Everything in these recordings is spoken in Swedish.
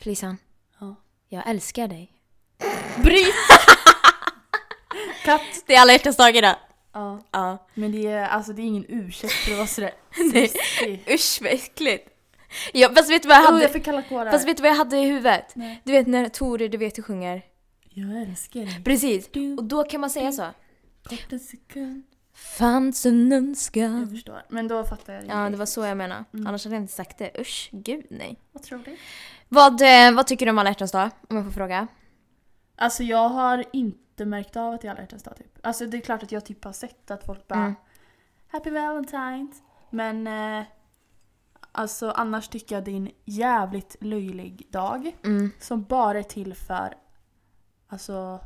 Felisan, Ja. jag älskar dig. Bryt! Katt! Det är alla hjärtans dag idag. Ja. Ja. Men det är, alltså, det är ingen ursäkt för att vara sådär Nej. sexig. Usch vad äckligt. Ja, fast vet du vad jag Oh, jag hade? fick kalla kårar. Fast vet du vad jag hade i huvudet? Nej. Du vet när Tore, du vet hur sjunger? Jag älskar dig. Precis. Du- Och då kan man säga så. Kort en sekund. Fanns en önskan. Mm. Jag förstår. Men då fattar jag. Ja, det ingenting. var så jag menade. Annars hade jag inte sagt det. Usch, gud nej. Vad tror du? Vad, eh, vad tycker du om alla hjärtans dag? Om jag får fråga. Alltså jag har inte märkt av att det är alla hjärtans dag typ. Alltså det är klart att jag typ har sett att folk bara Mm. Happy Valentine's. Men eh, alltså annars tycker jag det är en jävligt löjlig dag. Mm. Som bara är till för alltså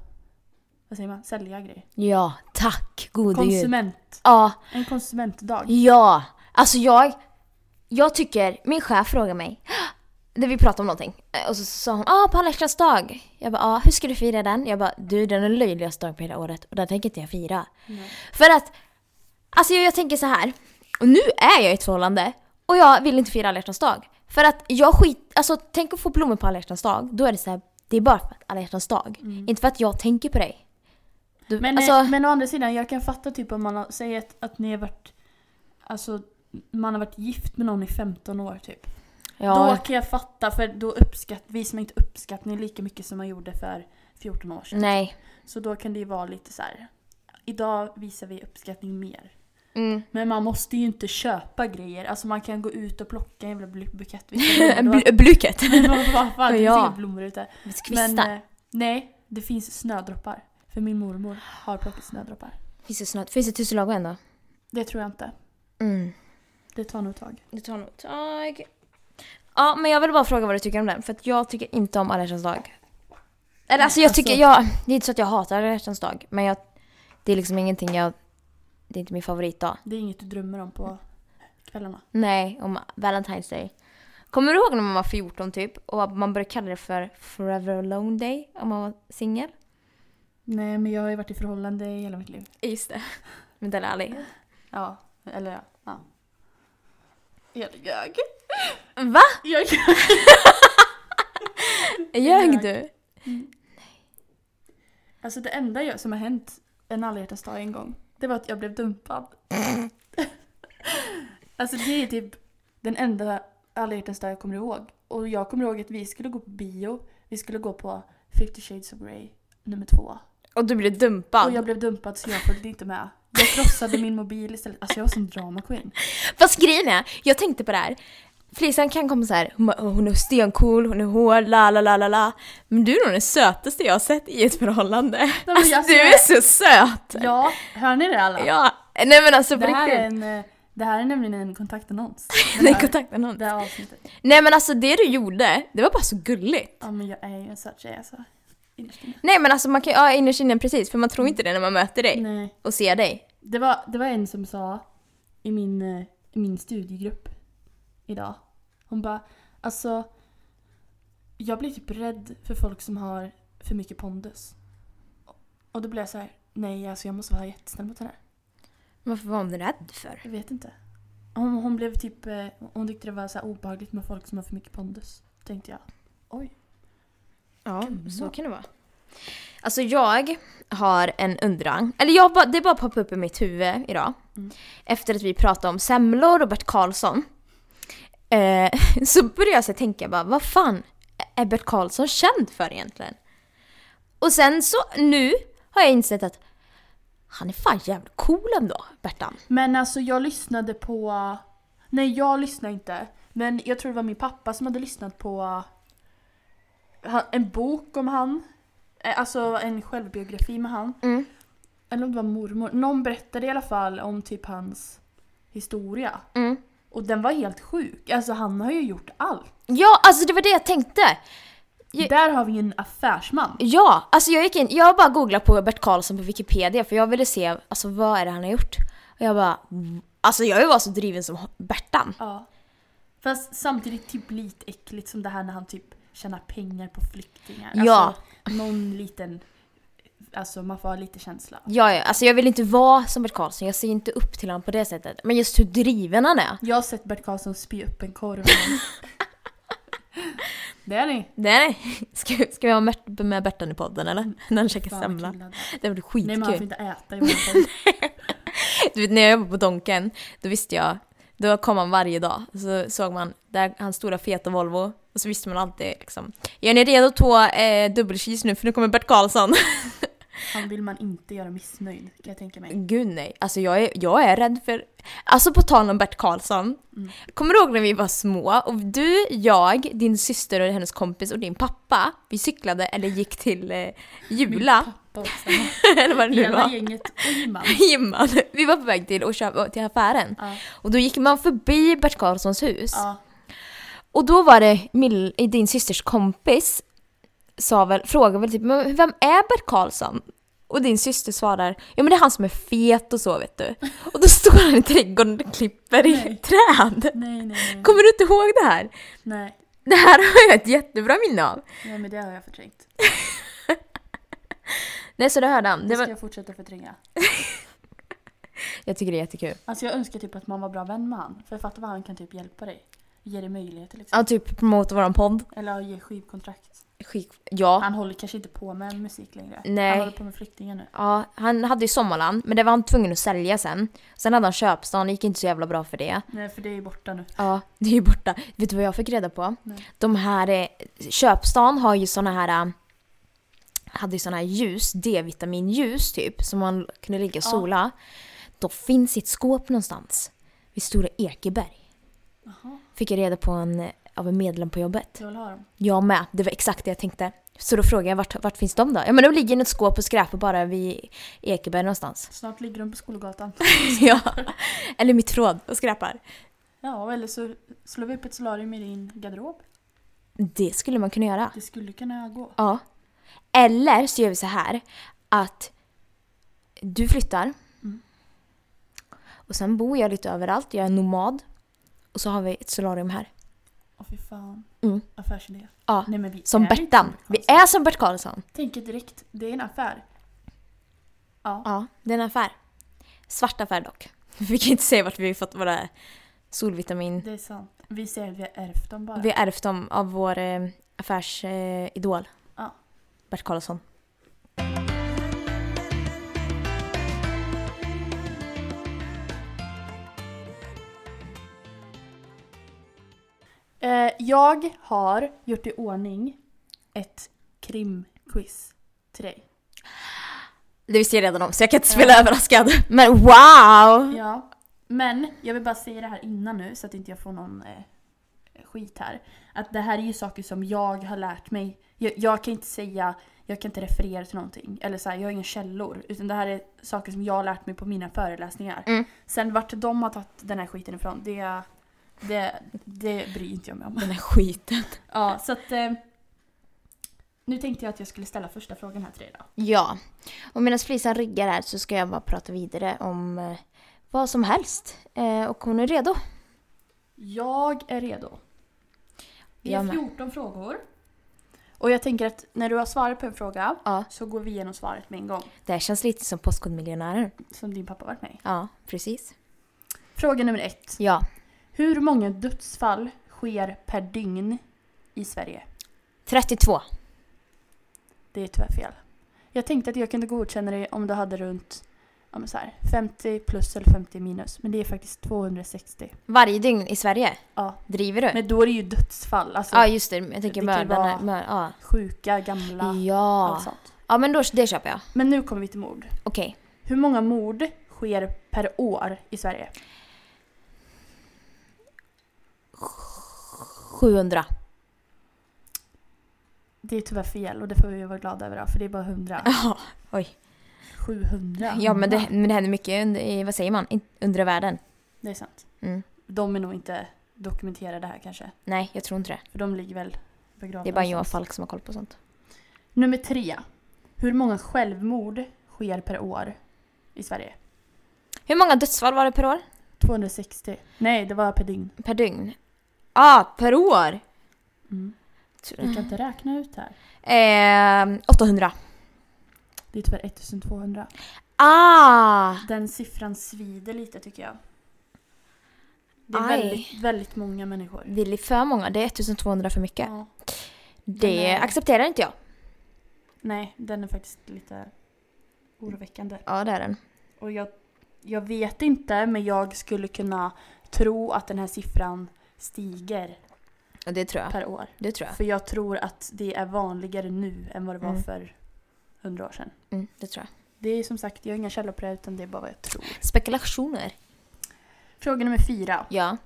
vad säger man? Sälja grejer. Ja, tack gode gud. Konsument. Ja, En konsumentdag. ja. Alltså jag, jag tycker, min chef frågar mig, när vi pratade om någonting, eh, och så sa hon ah, på alla hjärtans dag. Jag bara ah, hur ska du fira den? Jag bara du den är den löjligaste dagen på hela året och den tänker inte jag fira. För att, alltså jag, jag tänker så här. Och nu är jag i ett förhållande och jag vill inte fira alla hjärtans dag. För att jag skit, alltså tänk att få blommor på alla hjärtans dag. Då är det så här, det är bara för att alla hjärtans dag. Inte för att jag tänker på dig. Du, Mm. Men, alltså, eh, men å andra sidan, jag kan fatta typ om man har, säger att, att ni har varit Alltså man har varit gift med någon i 15 år typ. ja, Då kan jag fatta, för då uppskatt, visar man inte uppskattning lika mycket som man gjorde för 14 år sedan. nej. Så då kan det ju vara lite så här. idag visar vi uppskattning mer. Mm. Men man måste ju inte köpa grejer, alltså man kan gå ut och plocka en jävla bl- bukett. Bl- Blyket. Vad fan, det Ja. finns inga blommor ute. Kvistar. eh, nej, det finns snödroppar. För min mormor har plockat snödroppar. Finns det snart? Finns det tusenlago än då? Det tror jag inte. Mm. Det tar nog ett tag. Det tar nog ett tag. Ja, men jag vill bara fråga vad du tycker om den. För att jag tycker inte om alla hjärtans dag. Eller alltså jag Alltså- tycker, jag, det är inte så att jag hatar alla hjärtans dag. Men jag, det är liksom ingenting jag, det är inte min favoritdag. Det är inget du drömmer om på kvällarna. Nej, om Valentine's Day. Kommer du ihåg när man var 14 typ? Och man började kalla det för Forever Alone Day om man var singel? Nej, men jag har ju varit i förhållande i hela mitt liv. Just det. Men den är ärlig. Ja, eller ja. ja. Jag ljög. Va? Jag ljög. Ljög du? Alltså det enda jag, som har hänt en alla hjärtans dag en gång, det var att jag blev dumpad. alltså det är typ den enda alla hjärtans dag jag kommer ihåg. Och jag kommer ihåg att vi skulle gå på bio, vi skulle gå på 50 shades of Grey nummer två. Och du blev Och dumpad. jag blev dumpad så jag följde inte med. Jag krossade min mobil istället. Alltså jag var som drama queen. Fast grejen är, jag tänkte på det här. Flisan kan komma så här, hon, bara, "Åh, hon är stencool, hon är hård, la la la la la. Men du är nog den sötaste jag har sett i ett förhållande. men alltså, jag du ser- är så söt! Ja, hör ni det alla? Ja. Nej men alltså på det, här är riktigt. en, eh, det här är nämligen en kontaktannons. Nej, här- kontakta någon. Det här avsnittet. Nej men alltså det du gjorde, det var bara så gulligt. Ja men jag är ju en söt tjej alltså. Innerst inne. Nej men alltså man kan ju, ja innerst inne precis, för man tror inte det när man möter dig Nej. och ser dig. Det var, det var en som sa i min, eh, i min studiegrupp idag. Hon bara, alltså jag blir typ rädd för folk som har för mycket pondus. Och då blev jag så här, nej alltså jag måste vara jättesnäll mot henne. Varför var hon rädd för? Jag vet inte. Hon, hon blev typ, eh, hon tyckte det var så här obehagligt med folk som har för mycket pondus. Tänkte jag. Oj. Ja, Kan så vara. kan det vara. Alltså jag har en undran. Eller jag, bara- det bara poppade upp i mitt huvud idag. Mm. Efter att vi pratade om semlor och Bert Karlsson. Eh, så började jag så här tänka bara, vad fan är Bert Karlsson känd för egentligen? Och sen så nu har jag insett att han är fan jävligt cool ändå, Bertan. Men alltså jag lyssnade på... Nej jag lyssnade inte. Men jag tror det var min pappa som hade lyssnat på eh, han- en bok om han. Eh, Alltså en självbiografi med han. Mm. Eller om det var mormor. Någon berättade i alla fall om typ hans historia. Mm. Och den var helt sjuk. Alltså han har ju gjort allt. Ja, alltså det var det jag tänkte. Ju- Där har vi en affärsman. Ja, alltså jag gick in, jag bara googlade på Bert Karlsson på Wikipedia för jag ville se alltså, vad är det han har gjort. Och jag bara, "Mm." alltså jag var så driven som Bertan. Ja. Fast samtidigt typ lite äckligt som det här när han typ tjänar pengar på flyktingar. Ja. Alltså, någon liten... Alltså man får ha lite känsla. Ja, ja, alltså jag vill inte vara som Bert Karlsson, jag ser inte upp till honom på det sättet. Men just hur driven han är. Jag har sett Bert Karlsson spy upp en korv. Det är ni. Nej, nej. Ska, ska vi ha Mert- med Bertan i podden eller? När han käkar Fan, vad semla. kul det Det blir är. Nej men han får skitkul. inte äta i vår podd. Du vet när jag jobbade på Donken, då visste jag, då kom han varje dag. Så såg man där hans stora feta Volvo och så visste man alltid liksom, är ni redo att ta eh, dubbelcheese nu för nu kommer Bert Karlsson? Han vill man inte göra missnöjd kan jag tänka mig. Gud nej, alltså jag är, jag är rädd för... Alltså på tal om Bert Karlsson. Mm. Kommer du ihåg när vi var små och du, jag, din syster och hennes kompis och din pappa, vi cyklade eller gick till eh, Jula, Min pappa också. eller vad det nu Hela var. gänget och Jimman. Jimman. Vi var på väg till, och köpa, till affären Ja, och då gick man förbi Bert Karlssons hus. ja. Och då var det Mill, din systers kompis sa väl, frågade väl typ men vem är Bert Karlsson? Och din syster svarar ja men det är han som är fet och så vet du. Och då står han i trädgården och klipper i Nej. träd. Nej, nej, nej. Kommer du inte ihåg det här? Nej, Det här har jag ett jättebra minne av. nej men det har jag förträngt. Nej så det hörde han. Det Det ska var, jag fortsätta förtränga. jag tycker det är jättekul. Alltså jag önskar typ att man var bra vän med han. För jag fattar vad han kan typ hjälpa dig. Ge dig möjligheter liksom. Ja typ promota våran podd. Eller ge skivkontrakt. Skick, ja. Han håller kanske inte på med musik längre. Nej. Han håller på med flyktingar nu. Ja, han hade ju Sommarland, men det var han tvungen att sälja sen. Sen hade han Köpstan, det gick inte så jävla bra för det. Nej för det är ju borta nu. Ja, det är ju borta. Vet du vad jag fick reda på? Nej. De här, eh, köpstan har ju såna här, eh, hade ju såna här ljus, D-vitaminljus typ, som man kunde ligga och Ja. sola. Då finns ett skåp någonstans, vid Stora Ekeberg. Jaha, Fick jag reda på en, eh, av en medlem på jobbet. jag vill ha dem. Jag med, det var exakt det jag tänkte. Så då frågade jag vart, vart finns de då? Ja men de ligger i något skåp och skräpar bara vid Ekeberg någonstans. Snart ligger de på Skolgatan. ja. Eller mitt råd och skräpar. Ja, eller så slår vi upp ett solarium i din garderob. Det skulle man kunna göra. Det skulle kunna gå. Ja. Eller så gör vi så här att du flyttar. Mm. Och sen bor jag lite överallt, jag är nomad. Och så har vi ett solarium här. Åh fy fan. Mm. Affärsidé. Ja, Nej, men vi som är Bertan. inte Vi Karlsson. är som Bert Karlsson. Tänker direkt, det är en affär. Ja. Ja, det är en affär. Svart affär dock. Vi kan inte säga vart vi har fått våra solvitamin. det är sant. Vi säger att vi har ärvt dem bara. Vi har ärvt dem av vår eh, affärsidol. Eh, idol. Ja. Bert Karlsson. Eh, jag har gjort i ordning ett krimquiz till dig. Det visste jag redan om så jag kan inte spela överraskad. Men wow! Ja. Men jag vill bara säga det här innan nu så att inte jag får någon eh, skit här. Att det här är ju saker som jag har lärt mig. Jag, jag kan inte säga, jag kan inte referera till någonting. Eller så här, jag har inga källor. Utan det här är saker som jag har lärt mig på mina föreläsningar. Mm. Sen vart de har tagit den här skiten ifrån, det, det, det bryr inte jag mig om. Den här skiten. Ja, så att... Eh, nu tänkte jag att jag skulle ställa första frågan här till dig då. Ja, och medan Flisan riggar här så ska jag bara prata vidare om eh, vad som helst. Eh, och hon är redo. Jag är redo. Vi har Jag med. 14 frågor. Och jag tänker att när du har svarat på en fråga Ja. så går vi igenom svaret med en gång. Det här känns lite som Postkodmiljonären. Som din pappa varit med i. Ja, precis. Fråga nummer ett. Ja, Hur många dödsfall sker per dygn i Sverige? 32. Det är tyvärr fel. Jag tänkte att jag kunde godkänna dig om du hade runt ja, men så här, 50 plus eller 50 minus. Men det är faktiskt 260. Varje dygn i Sverige. Ja. Driver du? Men då är det ju dödsfall. Alltså Ja, just det. Jag tänker Det kan ju mördarna. vara- Mör, ja. sjuka, gamla, allt Ja. Alltså. sånt. ja, men då, det köper jag. Men nu kommer vi till mord. Okej. Hur många mord sker per år i Sverige? 700. Det är tyvärr fel och det får vi vara glada över då, för det är bara 100. Ja, oj. 700. Ja, men det, men det händer mycket under, i- vad säger man, In- undre världen. Det är sant. Mm. De är nog inte dokumenterade här kanske. Nej, jag tror inte det. För de ligger väl begravda. Det är bara Johan någonstans. Falk som har koll på sånt. Nummer tre. Hur många självmord sker per år i Sverige? Hur många dödsfall var det per år? 260. Nej, det var per dygn. Per dygn? Ja, ah, per år! Mm. Jag kan inte räkna ut här. Eh, 800. Det är tyvärr 1200. Ah! Den siffran svider lite tycker jag. Det är Aj. väldigt, väldigt många människor. Det är för många, det är 1200 för mycket. Ja. Det Men, eh, accepterar inte jag. Nej, den är faktiskt lite oroväckande. Ja, det är den. Och jag, jag vet inte, men jag skulle kunna tro att den här siffran stiger Ja, det tror jag. per år. Det tror jag. För jag tror att det är vanligare nu än vad det var Mm. för hundra år sedan. Mm, det tror jag. Det är som sagt, jag har inga källor på det här, utan det är bara vad jag tror. Spekulationer. Fråga nummer fyra. Ja.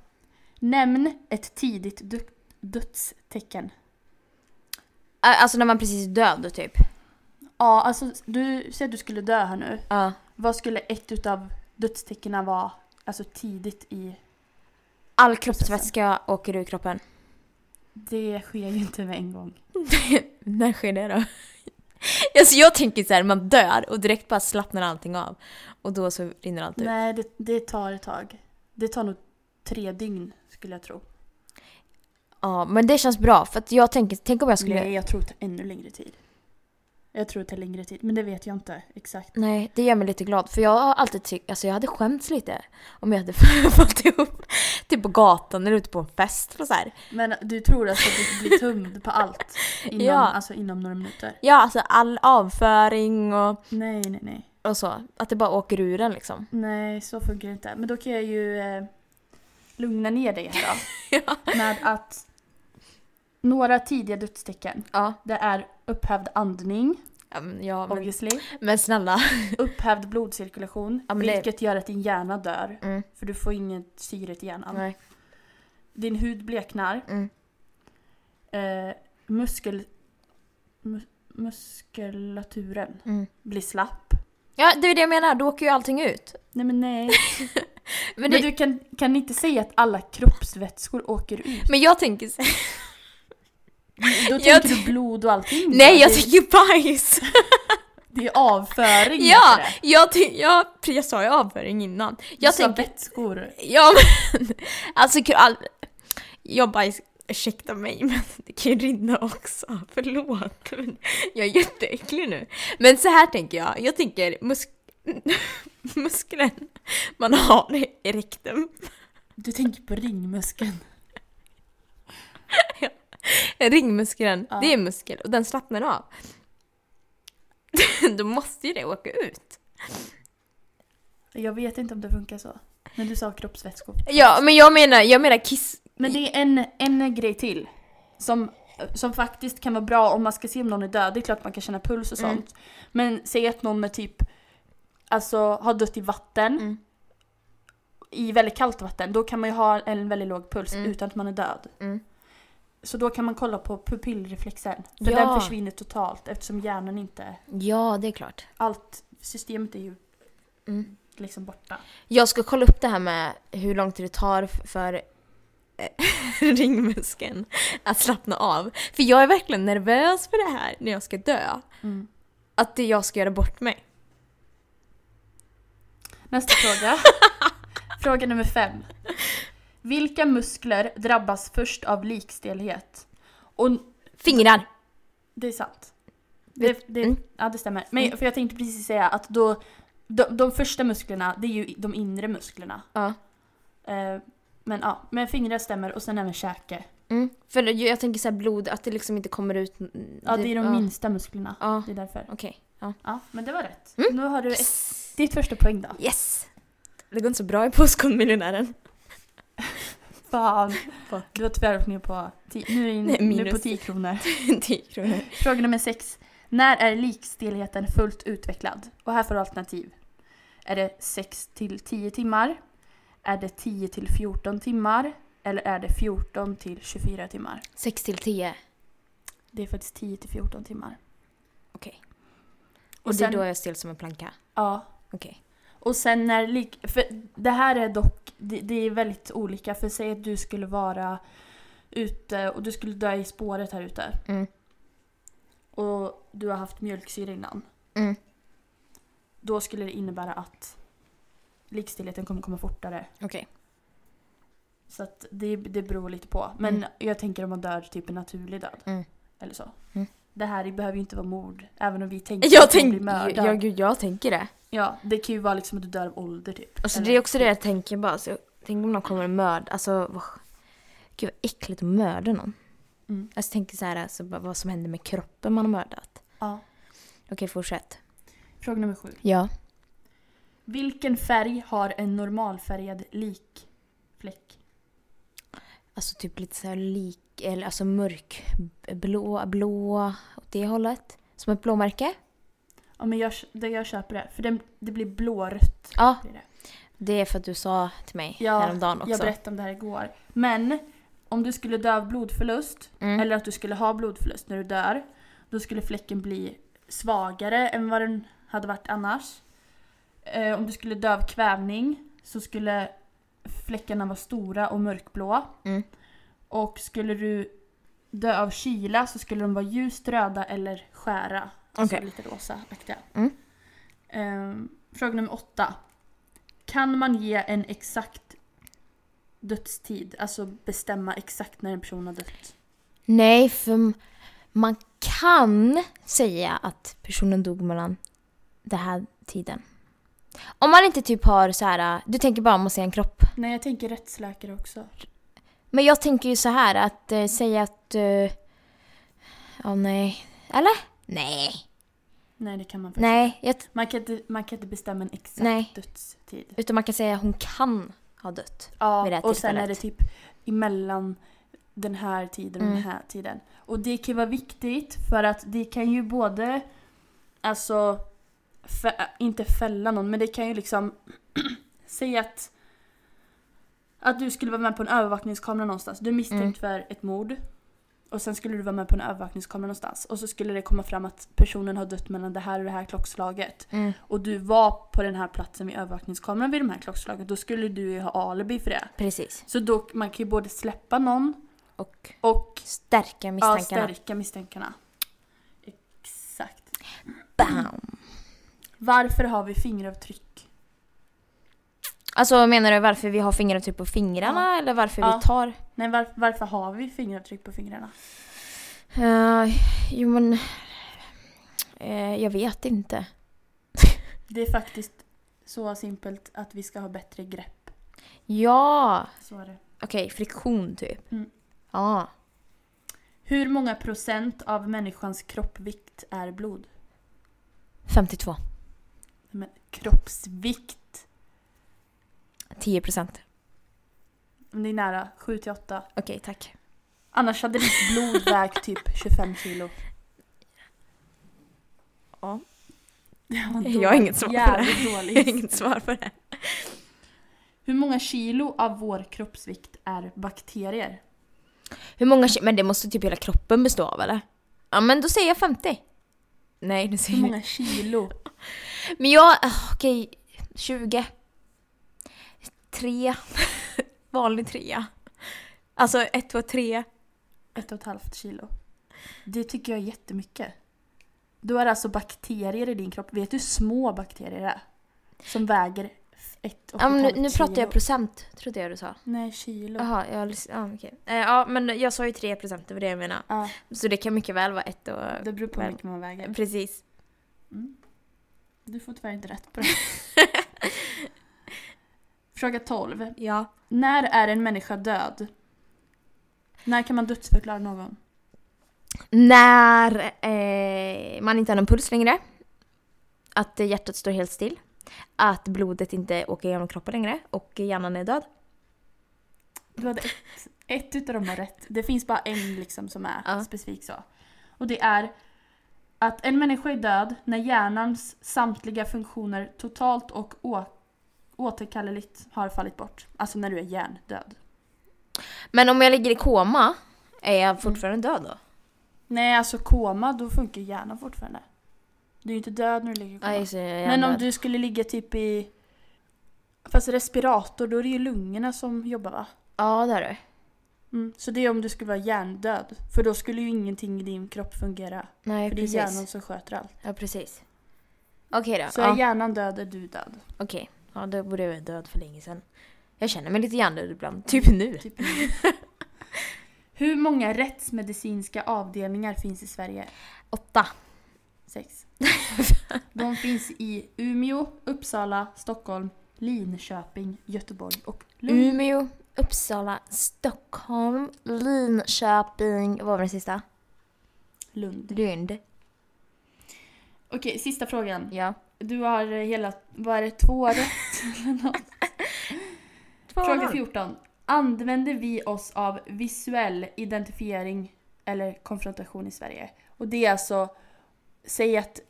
Nämn ett tidigt dö- dödstecken. Ä- Alltså när man precis är död då typ. Ja, alltså du säger att du skulle dö här nu. Ja. Vad skulle ett utav dödstecknen vara alltså tidigt i... All kroppsvätska åker ur kroppen. Det sker ju inte med en gång. typ. När sker det då? Alltså jag tänker så här, man dör och direkt bara slappnar allting av. Och då så rinner allt ut. Nej, det, det tar ett tag. Det tar nog tre dygn skulle jag tro. Ja, men det känns bra för att jag tänker, tänk om jag skulle... Nej, jag tror det tar ännu längre tid. Jag tror det tar längre tid, men det vet jag inte exakt. Nej, det gör mig lite glad. För jag har alltid tyckt, alltså jag hade skämts lite om jag hade fått ihop typ på gatan eller ute på en fest. Och så här. Men du tror alltså att du blir tömd på allt inom, Ja. alltså, inom några minuter? Ja, alltså all avföring och, Nej, nej, nej. och så. Att det bara åker ur en liksom. Nej, så funkar det inte. Men då kan jag ju eh, lugna ner dig här Ja. då. Med att några tidiga dödstecken. Ja, Det är upphävd andning, ja, men, ja men, obviously. men snälla. Upphävd blodcirkulation, Ja, men det- vilket gör att din hjärna dör. Mm, För du får inget syre till hjärnan. nej. Din hud bleknar. Mm. Eh, muskel... Mus, muskulaturen Mm. blir slapp. Ja, det är det jag menar. Då åker ju allting ut. Nej men nej. Men, Men, det, men, du kan, kan inte säga att alla kroppsvätskor åker ut. jag tänker så Då Jag tänker ty- du blod och allting. Nej, jag det, tycker bajs! det är avföring. Ja, heter det. jag, ty- jag, jag sa ju avföring innan. Jag Du sa tänker... vätskor. Ja, men... Alltså, kul- all... jag bajs... Ursäkta mig, men det kan ju rinna också. Förlåt. Men Jag är jätteäcklig nu. Men så här tänker jag. Jag tänker musk... musklen man har i rektum. Du tänker på ringmuskeln. Ringmuskeln, Ja. det är muskel och den slappnar av. Då måste ju det åka ut. Jag vet inte om det funkar så. Men du sa kroppsvätskor. Ja, men jag menar, jag menar kiss... Men det är en, en grej till. Som, som faktiskt kan vara bra om man ska se om någon är död. Det är klart man kan känna puls och Mm. sånt. Men säg att någon är typ, alltså har dött i vatten. Mm. I väldigt kallt vatten. Då kan man ju ha en väldigt låg puls Mm. utan att man är död. Mm. Så då kan man kolla på pupillreflexen. För Ja. den försvinner totalt eftersom hjärnan inte, Ja, det är klart. allt systemet är ju Mm. liksom borta. Jag ska kolla upp det här med hur lång tid det tar f- för eh, ringmuskeln att slappna av. För jag är verkligen nervös för det här när jag ska dö. Att det jag ska göra bort mig. Nästa fråga. fråga nummer fem. Vilka muskler drabbas först av likstelhet? Och n- Fingrar! det är sant. Det, det, Mm. Ja, det stämmer. Men Mm. för jag tänkte precis säga att då, de, de första musklerna, det är ju de inre musklerna. Ja. Eh, men ja, men fingrar stämmer och sen även käke. Mm. För jag jag tänker så här blod, att det liksom inte kommer ut... Ja, det är de ja. minsta musklerna. Ja, Det är därför. okej. Ja. Ja, men det var rätt. Mm. Nu har du ett, Yes. ditt första poäng då. Yes! Det går inte så bra i Postkodmiljonären. Fan. Fuck. Du har tyvärr varit med på 10 nu, är- Nej, nu minus. på 10 kronor. 10 kronor. Fråga nummer sex. När är likstelheten fullt utvecklad? Och här får du alternativ. Är det 6 till 10 timmar? Är det 10 till 14 timmar? Eller är det 14 till 24 timmar? 6 till 10. Det är faktiskt 10 till 14 timmar. Okej. Och, Och, det sen, är då jag är stel som en planka. ja, Okej. och sen när lik... För det här är dock... Det, det är väldigt olika. För säg att du skulle vara ute och du skulle dö i spåret här ute. Mm. Och du har haft mjölksyra innan. Mm. Då skulle det innebära att likstillheten kommer komma fortare. Okej. Så att det, det beror lite på. Men Mm. jag tänker om man dör typ en naturlig död. Mm. Eller så. Mm. Det här behöver ju inte vara mord. Även om vi tänker Jag, att man tänk, blir mördad. ja, gud, jag tänker det. Ja, det kan ju vara liksom att du dör av ålder typ. Alltså, Eller- det är också det jag tänker alltså, bara. Så, tänk om någon kommer och mörd. Alltså, vad- gud vad äckligt att mörda någon. Mm. Alltså tänk så här, alltså, bara vad som händer med kroppen man har mördat. Ja. Okej, fortsätt. Fråga nummer sju. Ja. Vilken färg har en normalfärgad likfläck? Alltså typ lite så här lik, eller alltså mörkblå, blå, åt det hållet. Som ett blåmärke. Ja men jag, det jag köper det, för den, det blir blårött. Ja, blir det. det är för att du sa till mig Ja, häromdagen också. Jag berättade om det här igår. Men om du skulle dö av blodförlust, Mm. eller att du skulle ha blodförlust när du dör, då skulle fläcken bli svagare än vad den hade varit annars. Eh, om du skulle dö av kvävning så skulle fläckarna vara stora och mörkblå. Mm. Och skulle du dö av kyla så skulle de vara ljust röda eller skära. Alltså Okej. lite rosaaktiga. Mm. Ehm, fråga nummer åtta. Kan man ge en exakt dödstid? Alltså bestämma exakt när en person har dött? Nej, för m- man kan säga att personen dog mellan den här tiden. Om man inte typ har så här, äh, du tänker bara om att se en kropp. Nej, jag tänker rättsläkare också. Men jag tänker ju så här att eh, säga att, eh, ja nej, eller? Nej, Nej, det kan man faktiskt nej, jag, t- Man kan inte. Man kan inte bestämma en exakt Nej. dödstid. utan man kan säga att hon kan ha dött. Ja, Vid det här och sen är det tillfället. typ emellan den här tiden och Mm. den här tiden. Och det kan vara viktigt för att det kan ju både, alltså, fä- inte fälla någon, men det kan ju liksom säga att att du skulle vara med på en övervakningskamera någonstans. Du är Mm. misstänkt för ett mord. Och sen skulle du vara med på en övervakningskamera någonstans. Och så skulle det komma fram att personen har dött mellan det här och det här klockslaget Mm. och du var på den här platsen vid övervakningskameran vid de här klockslagen, då skulle du ju ha alibi för det. Precis. Så då, man kan ju både släppa någon Och och stärka ja, misstankarna. stärka misstankarna. Exakt. Bam! Varför har vi fingeravtryck? Alltså menar du varför vi har fingeravtryck på fingrarna eller varför Ja. vi tar Nej, var, varför har vi fingeravtryck på fingrarna? Eh, jo men... eh, jag vet inte. Det är faktiskt så simpelt att vi ska ha bättre grepp. Ja! Så är det. Okej, friktion typ. Mm. Ja. Hur många procent av människans kroppsvikt är blod? 52. Men kroppsvikt? 10 procent. Det är nära, 7 till 8. Okej, tack. Annars hade ditt blod vägt typ 25 kilo. Ja. Det var Jag har inget svar på det. Jävligt Jag har dåligt. inget svar på det. Hur många kilo av vår kroppsvikt är bakterier? Hur många ki- Men det måste typ hela kroppen bestå av eller? Ja men då säger jag 50. Nej, nu Hur säger jag... många kilo? Men jag... ah, Okej, 20. Tre. Vanlig trea. Alltså ett, två, tre. Ett och ett halvt kilo. Det tycker jag är jättemycket. Då är det alltså bakterier i din kropp. Vet du hur små bakterier det är? Som väger ett och ett Ja, men nu, halvt nu pratar jag kilo. procent, trodde jag du sa. Nej, kilo. Jaha, jag lys- ja, okej. Eh, ja, men jag sa ju 3 procent, det var det jag menade. Ja, Så det kan mycket väl vara ett och... det beror på hur mycket man väger. Precis. Mm. Du får tyvärr inte rätt på det. Fråga 12. Ja. När är en människa död? När kan man dödsförklara någon? När eh, man inte har någon puls längre. Att eh, hjärtat står helt still. Att blodet inte åker genom kroppen längre och hjärnan är död. Du hade ett, ett utav dem var rätt. Det finns bara en liksom som är Ja. specifik så. Och det är att en människa är död när hjärnans samtliga funktioner totalt och å- återkalleligt har fallit bort. Alltså när du är hjärndöd. Men om jag ligger i koma, är Mm. jag fortfarande död då? Nej, alltså koma, då funkar ju hjärnan fortfarande. Du är ju inte död när du ligger i koma. Ja, just det, jag är Men om död. du skulle ligga typ i... Fast respirator, då är det ju lungorna som jobbar va? Ja, det är du. Mm. Så det är om du skulle vara hjärndöd. För då skulle ju ingenting i din kropp fungera. Nej, För det är precis. hjärnan som sköter allt. Ja, precis. Okej då. Så ja. är hjärnan död är du död. Okej, ja då borde jag vara död för länge sedan. Jag känner mig lite hjärndöd ibland. Typ nu. Typ. Hur många rättsmedicinska avdelningar finns i Sverige? Åtta. Sex. De finns i Mm. Umeå, Uppsala, Stockholm, Linköping, Göteborg och Lund. Umeå, Uppsala, Stockholm, Linköping, vad var den sista? Lund. Lund. Okej, sista frågan. Ja. Du har hela, vad är det, två rätt? Fråga 14. Använder vi oss av visuell identifiering eller konfrontation i Sverige? Och det är alltså, säg att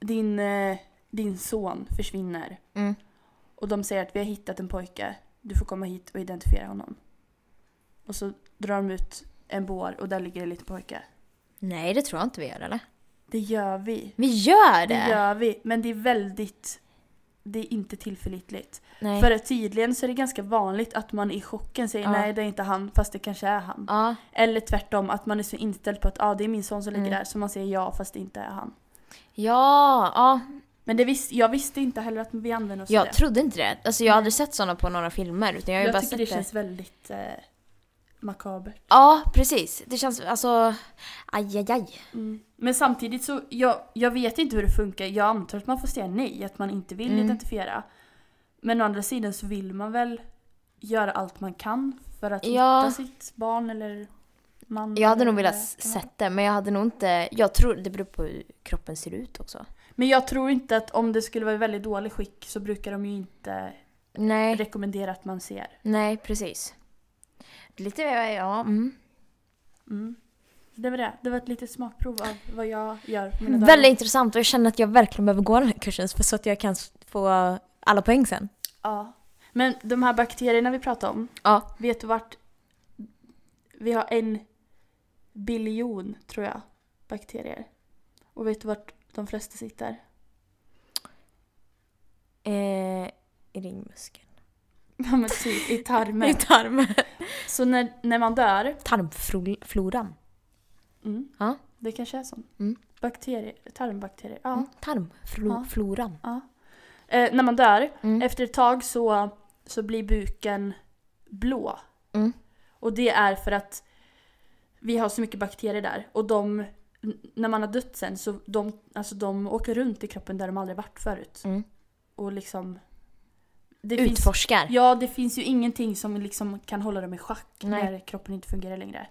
din, eh, din son försvinner Mm. och de säger att vi har hittat en pojke, du får komma hit och identifiera honom. Och så drar de ut en bår och där ligger det lite pojke. Nej, det tror jag inte vi gör eller? Det gör vi. Vi gör det! Det gör vi, men det är väldigt, det är inte tillförlitligt. Nej. För att tydligen så är det ganska vanligt att man i chocken säger Ja. nej det är inte han fast det kanske är han. Ja, Eller tvärtom att man är så inställd på att ah, det är min son som ligger Mm. där så man säger ja fast det inte är han. ja, ja. Men det vis- jag visste inte heller att vi använder oss av Jag det. trodde inte det. Alltså jag har aldrig sett sådana på några filmer utan jag har ju bara Jag, tycker sett det det. känns väldigt eh, makabert. Ja, precis. Det känns alltså... Aj, aj, aj. Men samtidigt så, jag, jag vet inte hur det funkar. Jag antar att man får säga nej, att man inte vill Mm. identifiera. Men å andra sidan så vill man väl göra allt man kan för att Ja. hitta sitt barn eller man. Jag hade eller nog velat vad det s- kan vara. sett det men jag hade nog inte... Jag tror det beror på hur kroppen ser ut också. Men jag tror inte att om det skulle vara i väldigt dålig skick så brukar de ju inte Nej, rekommendera att man ser. nej precis. Lite, ja. Mm. Mm. Det var det. Det var ett litet smakprov av vad jag gör på mina dagar. Mm, Väldigt intressant och jag känner att jag verkligen behöver gå den här kursen för så att jag kan s- få alla poäng sen. Ja. Men de här bakterierna vi pratade om, Ja. Vet du vart? Vi har en biljon, tror jag, bakterier. Och vet du vart de flesta sitter? Eh, I ringmuskeln. Ja men typ i I tarmen. tarmen. Så när, när man dör, Tarmfloran. mm, Ja. det kanske är sånt. Mm. Bakterier, tarmbakterier, ja. Mm, Tarmfloran. Ja. Floran. Eh, när man dör, Mm. efter ett tag så, så blir buken blå. Mm. Och det är för att vi har så mycket bakterier där. Och de, n- när man har dött sen så de, alltså de åker runt i kroppen där de aldrig varit förut. Mm. Och liksom... Det finns, Utforskar. ja, det finns ju ingenting som liksom kan hålla dem i schack Nej. när kroppen inte fungerar längre.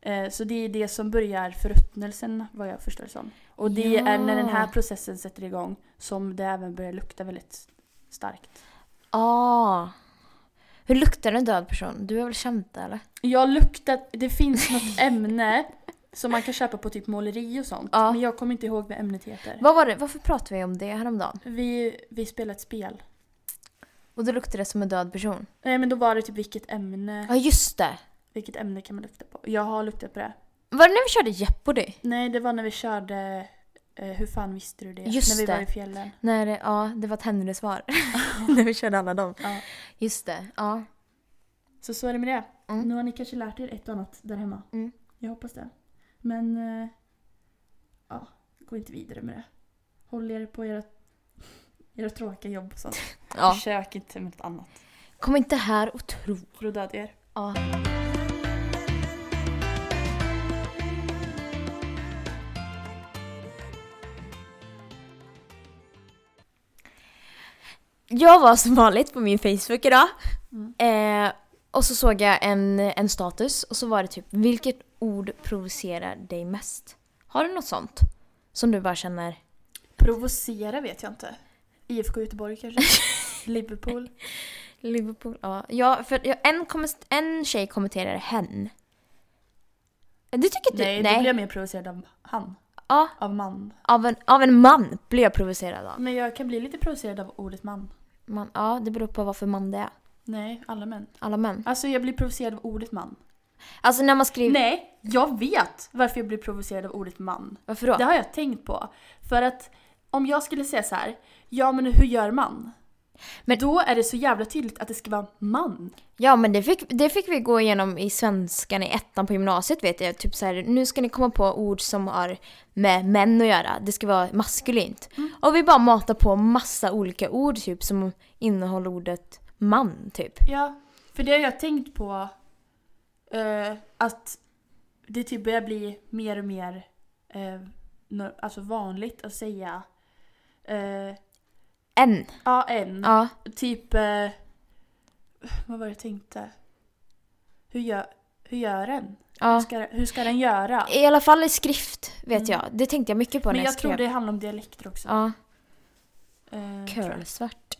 Eh, Så det är det som börjar förruttnelsen vad jag förstår det som. Och det Ja. är när den här processen sätter igång som det även börjar lukta väldigt starkt. Ah. Hur luktar en död person? Du har väl känt det eller? Jag har luktat, det finns något ämne som man kan köpa på typ måleri och sånt. Ja. Men jag kommer inte ihåg vad ämnet heter. Vad var det? Varför pratade vi om det häromdagen? Vi, vi spelade ett spel. Och då luktade det som en död person. Nej men då var det typ vilket ämne, Ja just det! vilket ämne kan man lukta på? Jag har luktat på det. Var det när vi körde Jeopardy? Nej det var när vi körde eh, Hur fan visste du det? Just när vi det. var i fjällen. När, det- ja det var ett Henry-svar. när vi körde alla dem. Ja. Just det, ja. Så så är det med det. Mm. Nu har ni kanske lärt er ett och annat där hemma. Mm. Jag hoppas det. Men eh, ja, gå inte vidare med det. Håll er på era, era tråkiga jobb och sånt. ja. Försök inte med något annat. Kom inte här och tro. För då dödar jag er. Ja. Jag var som vanligt på min Facebook idag. Eh, och så såg jag en, en status och så var det typ vilket ord provocerar dig mest? Har du något sånt? Som du bara känner, Provocera vet jag inte. IFK Göteborg kanske? Liverpool? Liverpool? Ja, ja för jag, en, komment- en tjej kommenterade hen. Det tycker du? Nej, då blir jag mer provocerad av han. Ja, Av man. av en, av en man blir jag provocerad av. Men jag kan bli lite provocerad av ordet man. Man, ja, det beror på vad för man det är. Nej, alla män. Alla män. Alltså jag blir provocerad av ordet man. Alltså när man skriver... Nej, jag vet varför jag blir provocerad av ordet man. Varför då? Det har jag tänkt på. För att om jag skulle säga så här, ja men hur gör man? Men- Men då är det så jävla tydligt att det ska vara man. Ja men det fick, det fick vi gå igenom i svenskan i ettan på gymnasiet vet jag. Typ så här, nu ska ni komma på ord som har med män att göra. Det ska vara maskulint. Mm. Och vi bara matar på massa olika ord typ som innehåller ordet man typ. Ja, för det har jag tänkt på eh, att det typ börjar bli mer och mer eh, no- alltså vanligt att säga eh, En. ja en, Ja. typ eh, Vad var det jag tänkte? Hur gör, hur gör den? Hur, Ja. ska, hur ska den göra? I alla fall i skrift vet Mm. jag. Det tänkte jag mycket på Men när jag, jag skrev. tror det handlar om dialekter också. Ja, Eh, tror jag. curlsvart.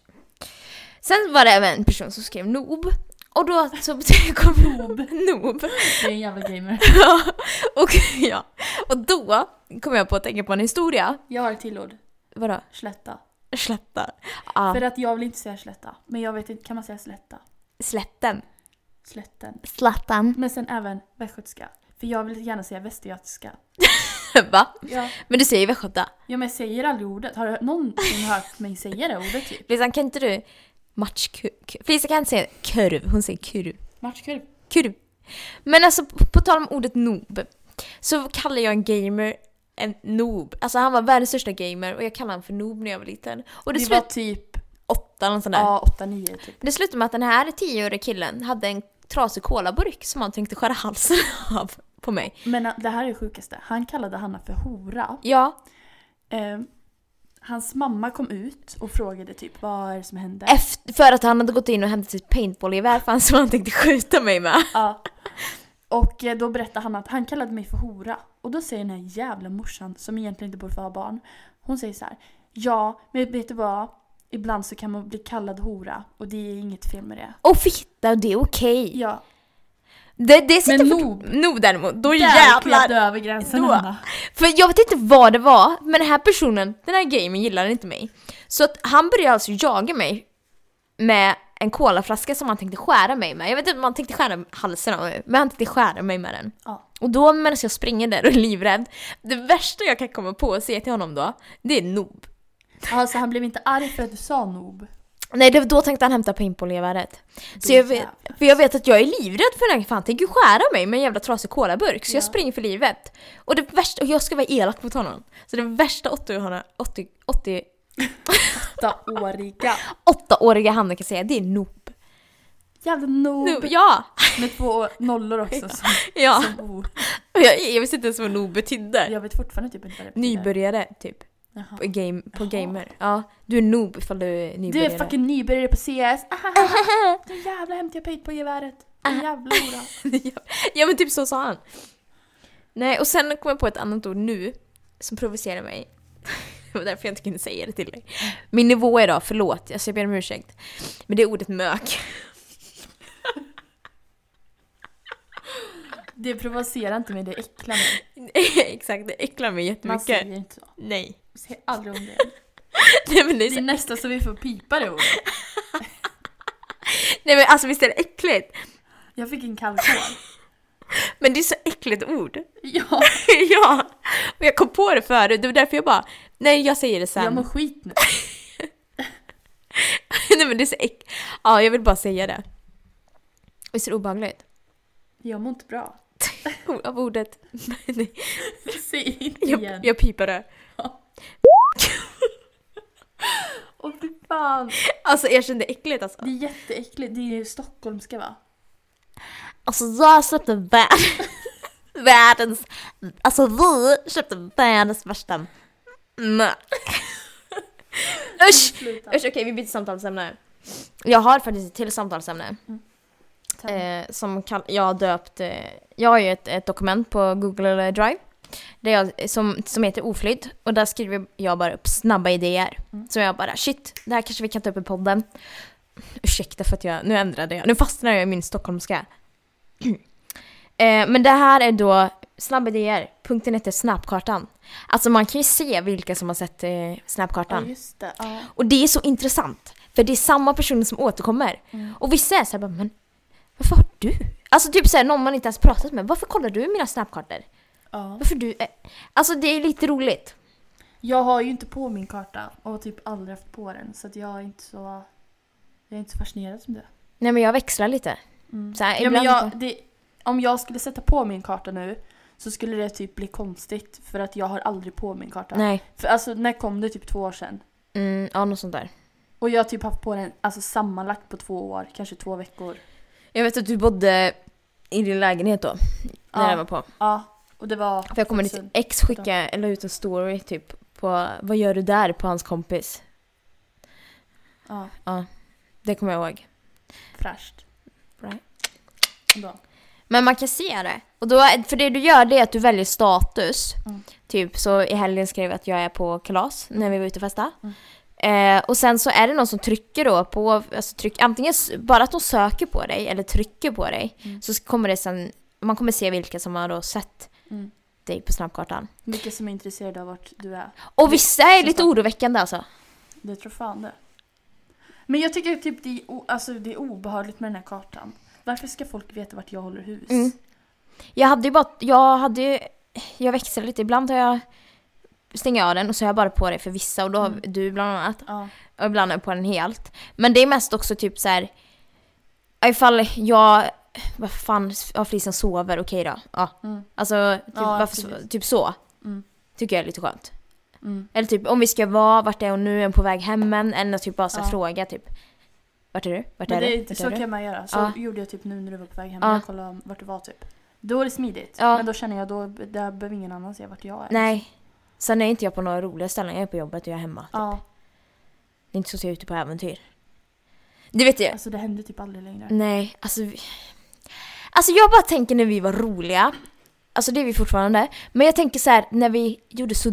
Sen var det även en person som skrev noob. Och då så kom noob. noob. Det är en jävla gamer. Ja, och, ja. och då kom jag på att tänka på en historia. Jag har ett till ord. Vadå? Slätta. Slätta. Ja, För att jag vill inte säga slätta. Men jag vet inte, kan man säga slätta? slätten. Slätten. Slätten. Men sen även västgötska. För jag vill gärna säga västgötska. Va? Ja. Men du säger västgöta. ja, men jag säger aldrig ordet. Har du någonsin hört mig säga det ordet typ? Felicia, kan inte du matchkurv? Felicia kan inte säga kurv, hon säger kurv. Matchkurv. Kurv. Men alltså, på, på tal om ordet noob. Så kallar jag en gamer en noob. Alltså han var världens största gamer och jag kallade honom för noob när jag var liten. Och det Det var slutade typ åtta, någon sån där. ja, 8-9 typ. Det slutade med att den här tioårige killen hade en trasig colaburk som han tänkte skära halsen av på mig. Men ah, det här är det sjukaste. Han kallade Hanna för hora. Ja, Eh, hans mamma kom ut och frågade typ vad är det som händer? efter, för att han hade gått in och hämtat sitt paintballgevär för han som han tänkte skjuta mig med. Ja. Och eh, då berättade han att han kallade mig för hora. Och då säger den här jävla morsan, som egentligen inte borde få ha barn, hon säger så här. Ja, men vet du vad? Ibland så kan man bli kallad hora och det är inget fel med det. Och fitta, det är okej. Ja, Det, det sitter Men fort- noob. Noob däremot, då där klev du jävlar! över gränsen Då. Hanna. För jag vet inte vad det var, men den här personen, den här gamern gillade inte mig. Så att han började alltså jaga mig med en colaflaska som han tänkte skära mig med. Jag vet inte om han tänkte skära halsen av mig, men han tänkte skära mig med den. Ja. Och då medan jag springer där och är livrädd, det värsta jag kan komma på och säga till honom då, det är noob. Alltså han blev inte arg för att du sa noob. Nej, det, då tänkte han hämta paintballgeväret. Så Då jag vet, jävlar. för jag vet att jag är livrädd för den här, för han tänker ju skära mig med en jävla trasig colaburk. Så jag Ja. springer för livet. Och det värsta, och jag ska vara elak mot honom. Så det värsta 80-åriga 80, 80, Åttaåriga. 8-åriga Hanna kan säga, det är noob. Jävla noob. noob. Ja! Med två nollor också. Som, ja. som o. Och jag, jag visste inte ens vad noob betydde. Jag vet fortfarande typ inte vad det betyder. Nybörjare, typ. Jaha. På, game, på Jaha. gamer. Ja, du är noob ifall du är Du nybörjare. är fucking nybörjare på Ah, CS. Ahaha. Du jävla hämtar jag pejt på geväret. Ah. Du jävla hora. ja men typ så sa han. Nej och sen kom jag på ett annat ord nu som provocerar mig. Det var därför jag inte kunde säga det till dig. Min nivå idag, förlåt, alltså jag ber om ursäkt. Men det är ordet mök. Det provocerar inte mig, det äcklar mig. Exakt, det äcklar mig Man jättemycket. säger inte så. Nej. Säg aldrig om det. Nej men, det är Det så... är nästan så vi får pipa det ordet. Nej men alltså visst är det äckligt? Jag fick en kall kår. Men det är så äckligt ord. Ja, ja! Och jag kom på det förut, det var därför jag bara, nej jag säger det jag sen. mår skit nu. nej men det är så äck... Ja, jag vill bara säga det. Visst är det obehagligt? Jag mår inte bra. Av ordet. Nej, Säg inte igen. jag, jag pipar det. Åh fy fan. Alltså erkänn det är äckligt alltså. Det är jätteäckligt. Det är ju stockholmska va? Alltså jag köpte vär- världens... Alltså vi köpte världens värsta mök. Usch! Sluta. Usch okej vi byter samtalsämne. Jag har faktiskt ett till samtalsämne. Eh, som kall- jag har döpt... Eh, jag har ju ett, ett dokument på Google Drive. Där jag, som, som heter Oflydd. Och där skriver jag bara upp snabba idéer. Mm. Så jag bara shit, det här kanske vi kan ta upp i podden. Ursäkta för att jag... Nu ändrade jag. Nu fastnar jag i min stockholmska. eh, men det här är då snabba idéer. Punkten heter Snapkartan. Alltså man kan ju se vilka som har sett eh, Ja Snapkartan. just det. Ja. Och det är så intressant. För det är samma personer som återkommer. Mm. Och vissa är såhär bara, men varför har du? Alltså typ såhär någon man inte ens pratat med. Varför kollar du mina snapkartor? ja. Varför du? eh?" Alltså det är lite roligt. Jag har ju inte på min karta och har typ aldrig haft på den så att jag är inte så... Jag är inte så fascinerad som du. Nej men jag växlar lite. Mm. Så här, Ja, men ibland jag, det, om jag skulle sätta på min karta nu så skulle det typ bli konstigt för att jag har aldrig på min karta. Nej. För alltså när kom det? Typ två år sedan. Mm, ja något sånt där. Och jag har typ haft på den alltså, sammanlagt på två år, kanske två veckor. Jag vet att du bodde i din lägenhet då. När Ja. det var på. Ja, och det var... För jag kommer ditt tusen- ex skicka, eller ut en story typ på vad gör du där på hans kompis. Ja. Det kommer jag ihåg. Fräscht. Right. Ändå. Men man kan se det. Och då, för det du gör det är att du väljer status. Mm. Typ så i helgen skrev jag att jag är på kalas när vi var ute och festa. Mm. Eh, och sen så är det någon som trycker då på, alltså tryck, antingen s- bara att de söker på dig eller trycker på dig. Mm. Så kommer det sen, man kommer se vilka som har då sett Mm. dig på snabbkartan. Vilka som är intresserade av vart du är. Och vissa är Så lite sant. oroväckande alltså. Det tror fan det. Men jag tycker typ det är, o- alltså, det är obehagligt med den här kartan. Varför ska folk veta vart jag håller hus? Mm. Jag hade ju bara, jag hade ju, jag växlar lite, ibland har jag stänger av den och så har jag bara på det för vissa och då har Mm. du bland annat. Ja. Och ibland är jag på den helt. Men det är mest också typ så här. ja, Ifall jag, vad fan, ja, flisen sover, okej då. Ja. Mm. Alltså typ, Ja, varför, precis. typ så. Mm. Tycker jag är lite skönt. Mm. Eller typ om vi ska vara, vart är hon nu, är hon på väg hem än? Eller typ bara så här, Ja. fråga typ. Vart är du? Vart Men är det du? är inte, Vart så är du? kan man göra. Så Ja. gjorde jag typ nu när du var på väg hem. Ja. Jag kollade vart du var typ. Då är det smidigt. Ja. Men då känner jag då där behöver ingen annan se vart jag är. Nej. Sen är inte jag på några roliga ställen, jag är på jobbet och jag är hemma. Ja, Det är inte så att jag är ute på äventyr. Det vet jag. alltså det händer typ aldrig längre. Nej, alltså... Vi... Alltså jag bara tänker när vi var roliga. Alltså det är vi fortfarande. Men jag tänker så här när vi gjorde så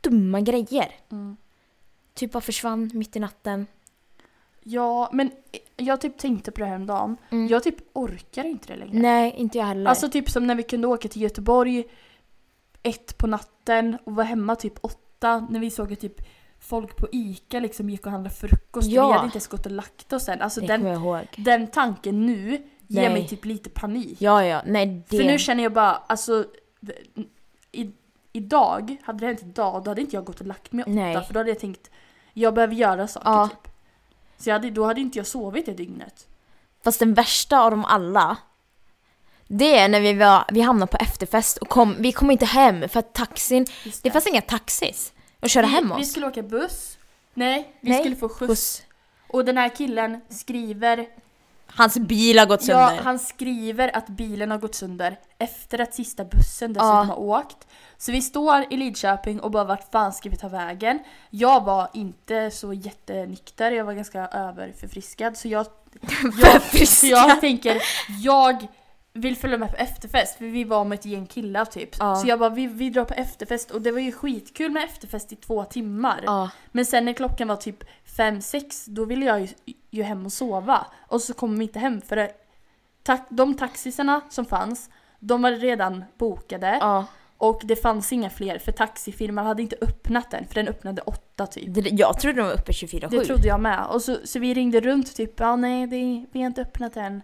dumma grejer. Mm. Typ bara försvann mitt i natten. Ja, men jag typ tänkte på det här om dagen. Mm. Jag typ orkar inte det längre. Nej, inte jag heller. Alltså typ som när vi kunde åka till Göteborg ett på natten och vara hemma typ åtta när vi såg att typ folk på ICA liksom gick och handlade frukost. Ja. Vi hade inte ens gått och lagt oss än. Alltså det den, kommer jag ihåg. den tanken nu ger Nej. mig typ lite panik. Ja, ja, nej det... För nu känner jag bara, alltså i, idag, hade det hänt idag då hade inte jag gått och lagt mig åtta Nej. för då hade jag tänkt jag behöver göra saker Ja. typ. Så jag hade, då hade inte jag sovit det dygnet. Fast den värsta av dem alla. Det är när vi, var, vi hamnade på efterfest och kom, vi kom inte hem för att taxin... Just Det fanns inga taxis att köra hem vi, vi oss. skulle åka buss. Nej, vi Nej, skulle få skjuts. Hos, Och den här killen skriver, hans bil har gått sönder. ja, han skriver att bilen har gått sönder efter att sista bussen dessutom Ja. har åkt. Så vi står i Lidköping och bara vart fan ska vi ta vägen? Jag var inte så jättenykter, jag var ganska överförfriskad så jag, jag, så jag tänker, jag vill följa med på efterfest för vi var med ett gäng killar typ. Ja. Så jag bara vi, vi drar på efterfest och det var ju skitkul med efterfest i två timmar. Ja. Men sen när klockan var typ fem sex då ville jag ju, ju hem och sova. Och så kom vi inte hem för det, ta, de taxisarna som fanns, de var redan bokade. ja. Och det fanns inga fler för taxifirman hade inte öppnat den för den öppnade åtta typ. Det- Jag trodde de var uppe 24-7. Det trodde jag med. Och så, så vi ringde runt typ, ja nej det, vi har inte öppnat än.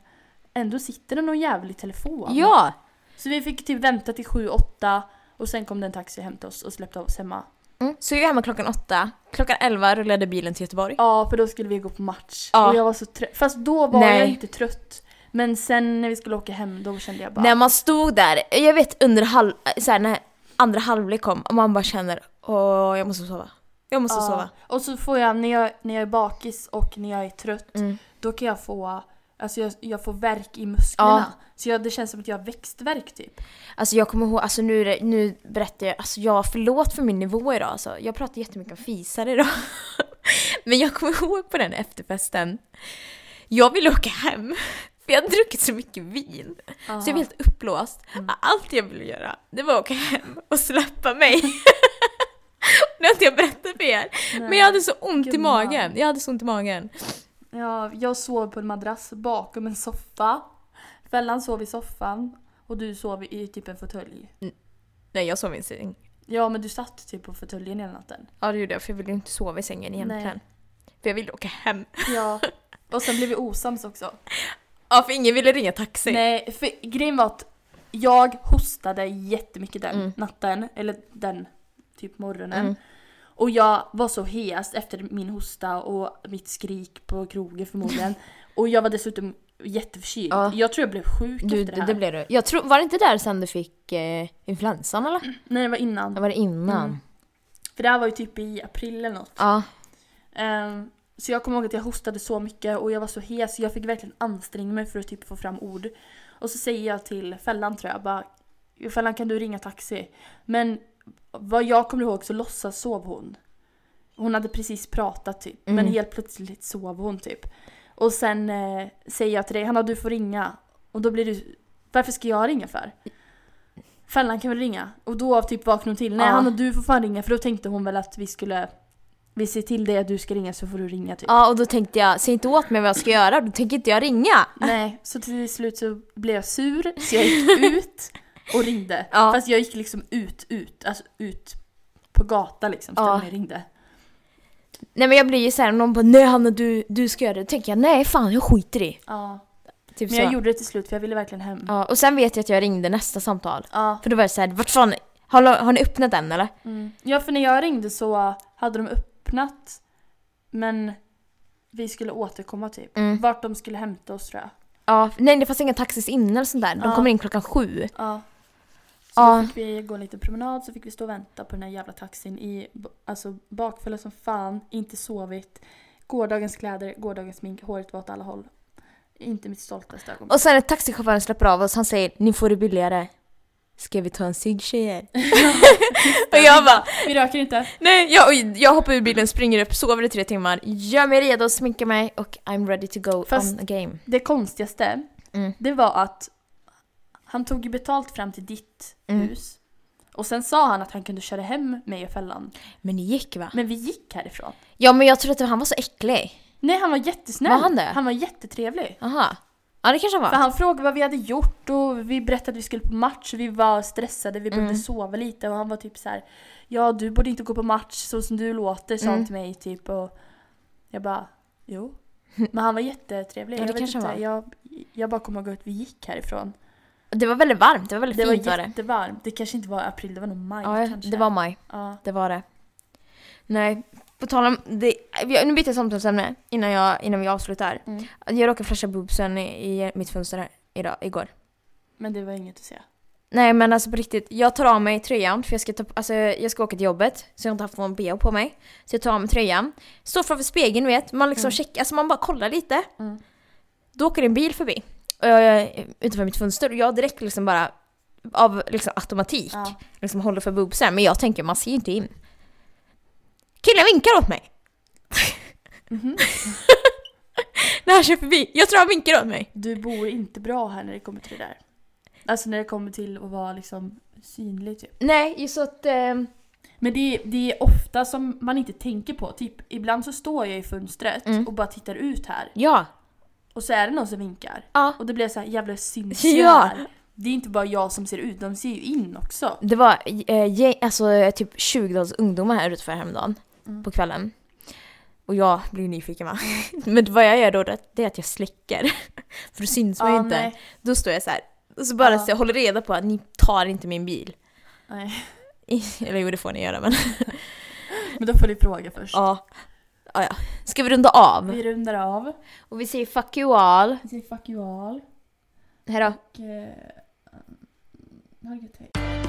Ändå sitter det någon jävlig telefon. Ja! Så vi fick typ vänta till sju, åtta och sen kom den taxi och hämtade oss och släppte oss hemma. Mm. Så jag var hemma klockan åtta. Klockan elva rullade bilen till Göteborg. Ja, för då skulle vi gå på match. Ja. Och jag var så trött. Fast då var Nej. jag inte trött. Men sen när vi skulle åka hem, då kände jag bara... När man stod där, jag vet under halv, så här, när andra halvlek kom och man bara känner åh, jag måste sova. Jag måste Ja. sova. "Ah." Och så får jag när, jag, när jag är bakis och när jag är trött, Mm. då kan jag få... Alltså jag, jag får värk i musklerna. Så jag, det känns som att jag har växtvärk typ. Alltså jag kommer ihåg, alltså nu, är det- nu berättar jag, alltså jag förlåt för min nivå idag alltså. Jag pratar jättemycket om fisar idag. Men jag kommer ihåg på den efterfesten. Jag ville åka hem. För jag hade druckit så mycket vin. Så jag var helt uppblåst. Allt jag ville göra, det var att åka hem och släppa mig. det har inte jag berättat för er. Men jag hade så ont i Gumman. magen. Jag hade så ont i magen. Ja, jag sov på en madrass bakom en soffa. Fällan sov i soffan. Och du sov i typ en fåtölj. Nej, jag sov i en säng. Ja, men du satt typ på fåtöljen hela natten. Ja, det gjorde jag för jag ville ju inte sova i sängen egentligen. För jag ville åka hem. Ja. Och sen blev vi osams också. Ja, för ingen ville ringa taxi. Nej, för grejen var att jag hostade jättemycket den Mm. natten, eller den typ morgonen. Mm. Och jag var så hes efter min hosta och mitt skrik på krogen förmodligen. och jag var dessutom jätteförkyld. Ja. Jag tror jag blev sjuk Du, efter det det, här. det blev du. Jag tror, var det inte där sen du fick eh, influensan eller? Nej, det var innan. Eller var det innan? Mm. För det här var ju typ i april eller något. Ja. Ehm, så jag kommer ihåg att jag hostade så mycket och jag var så hes så jag fick verkligen anstränga mig för att typ få fram ord. Och så säger jag till Fällan tror jag bara Fällan kan du ringa taxi? Men vad jag kommer ihåg så låtsas sov hon. Hon hade precis pratat typ men Mm. helt plötsligt sov hon typ. Och sen eh, säger jag till dig, Hanna du får ringa. Och då blir du, varför ska jag ringa för? Fällan kan väl ringa? Och då typ vaknar hon till, nej Ja. Hanna du får fan ringa för då tänkte hon väl att vi skulle, vi ser till dig att du ska ringa så får du ringa typ. Ja, och då tänkte jag, säg inte åt mig vad jag ska göra, då tänker inte jag ringa. Nej, så till slut så blev jag sur så jag gick ut och ringde. Ja. Fast jag gick liksom ut, ut, alltså ut på gatan liksom. Ja. Ja. Jag ringde. Nej men jag blir ju såhär, om någon bara nej Hanna du, du ska göra det, då tänker jag nej fan jag skiter i. Ja. Typ Men så. jag gjorde det till slut för jag ville verkligen hem. ja, och sen vet jag att jag ringde nästa samtal. Ja. För då var det såhär, vart fan, har, har ni öppnat den eller? Mm. Ja, för när jag ringde så hade de öppnat men vi skulle återkomma typ. Mm. Vart de skulle hämta oss tror jag. Ja, nej det fanns inga taxis inne eller sånt där, de Ja. kommer in klockan sju. Ja. Så Ja. då fick vi gå en liten promenad så fick vi stå och vänta på den här jävla taxin i alltså bakfulla som fan, inte sovit. Gårdagens kläder, gårdagens smink, håret var åt alla håll. Inte mitt stoltaste ögonblick. Och sen när taxichauffören släpper av oss, han säger ni får det billigare. Ska vi ta en cigg tjejer? och jag bara, Vi röker inte. nej jag, oj, jag hoppar ur bilen, springer upp, sover i tre timmar, gör mig redo, sminkar mig och I'm ready to go Fast- on a game. Det konstigaste, Mm. det var att han tog ju betalt fram till ditt Mm. hus. Och sen sa han att han kunde köra hem mig och Fällan. Men det gick va? Men vi gick härifrån. Ja men jag trodde att det var- han var så äcklig. Nej, han var jättesnäll. Var han det? Han var jättetrevlig. Aha. Ja det kanske han För var. han frågade vad vi hade gjort och vi berättade att vi skulle på match och vi var stressade, vi behövde Mm. sova lite och han var typ så här: Ja du borde inte gå på match så som du låter, sa Mm. han till mig typ och jag bara jo. Men han var jättetrevlig. Ja, det jag, vet kanske inte, han var. jag, jag bara kommer ihåg att vi gick härifrån. Det var väldigt varmt, det var väldigt Det var fint var det. jättevarmt. Det kanske inte var april, det var nog maj Ja, kanske. det var maj, Ja. det var det. Nej, på tal om det, vi- nu byter jag samtalsämne innan, jag, innan vi avslutar. Mm. Jag råkade flasha boobsen i, i mitt fönster här idag, igår. Men det var inget att säga. Nej men alltså på riktigt, jag tar av mig tröjan för jag ska, ta, alltså, jag ska åka till jobbet så jag har inte haft någon bh på mig. Så jag tar av mig tröjan, står framför spegeln du vet, man liksom Mm. checkar, alltså man bara kollar lite. Mm. Då åker en bil förbi och jag, är utanför mitt fönster och jag direkt liksom bara av liksom automatik Ja. liksom håller för boobsen men jag tänker man ser ju inte in. Killen vinkar åt mig! Mhm. När han kör förbi, jag tror han vinkar åt mig. Du bor inte bra här när det kommer till det där. Alltså när det kommer till att vara liksom synlig typ. Nej, just så att... Eh, Men det, det är ofta som man inte tänker på. Typ ibland så står jag i fönstret Mm. och bara tittar ut här ja. och så är det någon som vinkar. ja. Och det blir så här jävla syns ju Ja. här. Det är inte bara jag som ser ut, de ser ju in också. Det var eh, gäng, alltså, eh, typ 20 års ungdomar här utanför häromdagen Mm. på kvällen. Och jag blir nyfiken va? Men vad jag gör då det- det är att jag släcker. För då syns man ju Ja, inte. nej. Då står jag så här. Och så bara Ja. så jag håller reda på att ni tar inte min bil. Nej. Eller jo det får ni göra men. Men då får du fråga först. Ja. Ja, Ah, ja. Ska vi runda av? Vi rundar av. Och vi säger fuck you all. Vi säger fuck you all. Hejdå. Och... Eh, mm, ha det gött, hej.